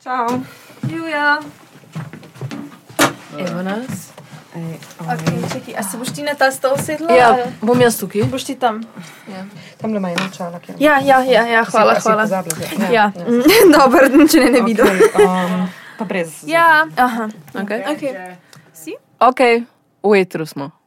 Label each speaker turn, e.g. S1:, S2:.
S1: Ciao.
S2: Julia.
S3: Evo nas.
S1: Ej,
S2: Okay, čekaj, a se boš ti na ta stol sedla?
S3: Ja, bom jaz tukaj.
S2: Boš ti tam?
S1: Tam le ima eno čalo, ki
S2: Ja, ja, ja, ja hvala, hvala. Ja, dober, če ne, ne vidim.
S1: Um, pa brez.
S2: Ja, aha.
S3: Okay.
S2: Okay.
S3: ok, v etru smo.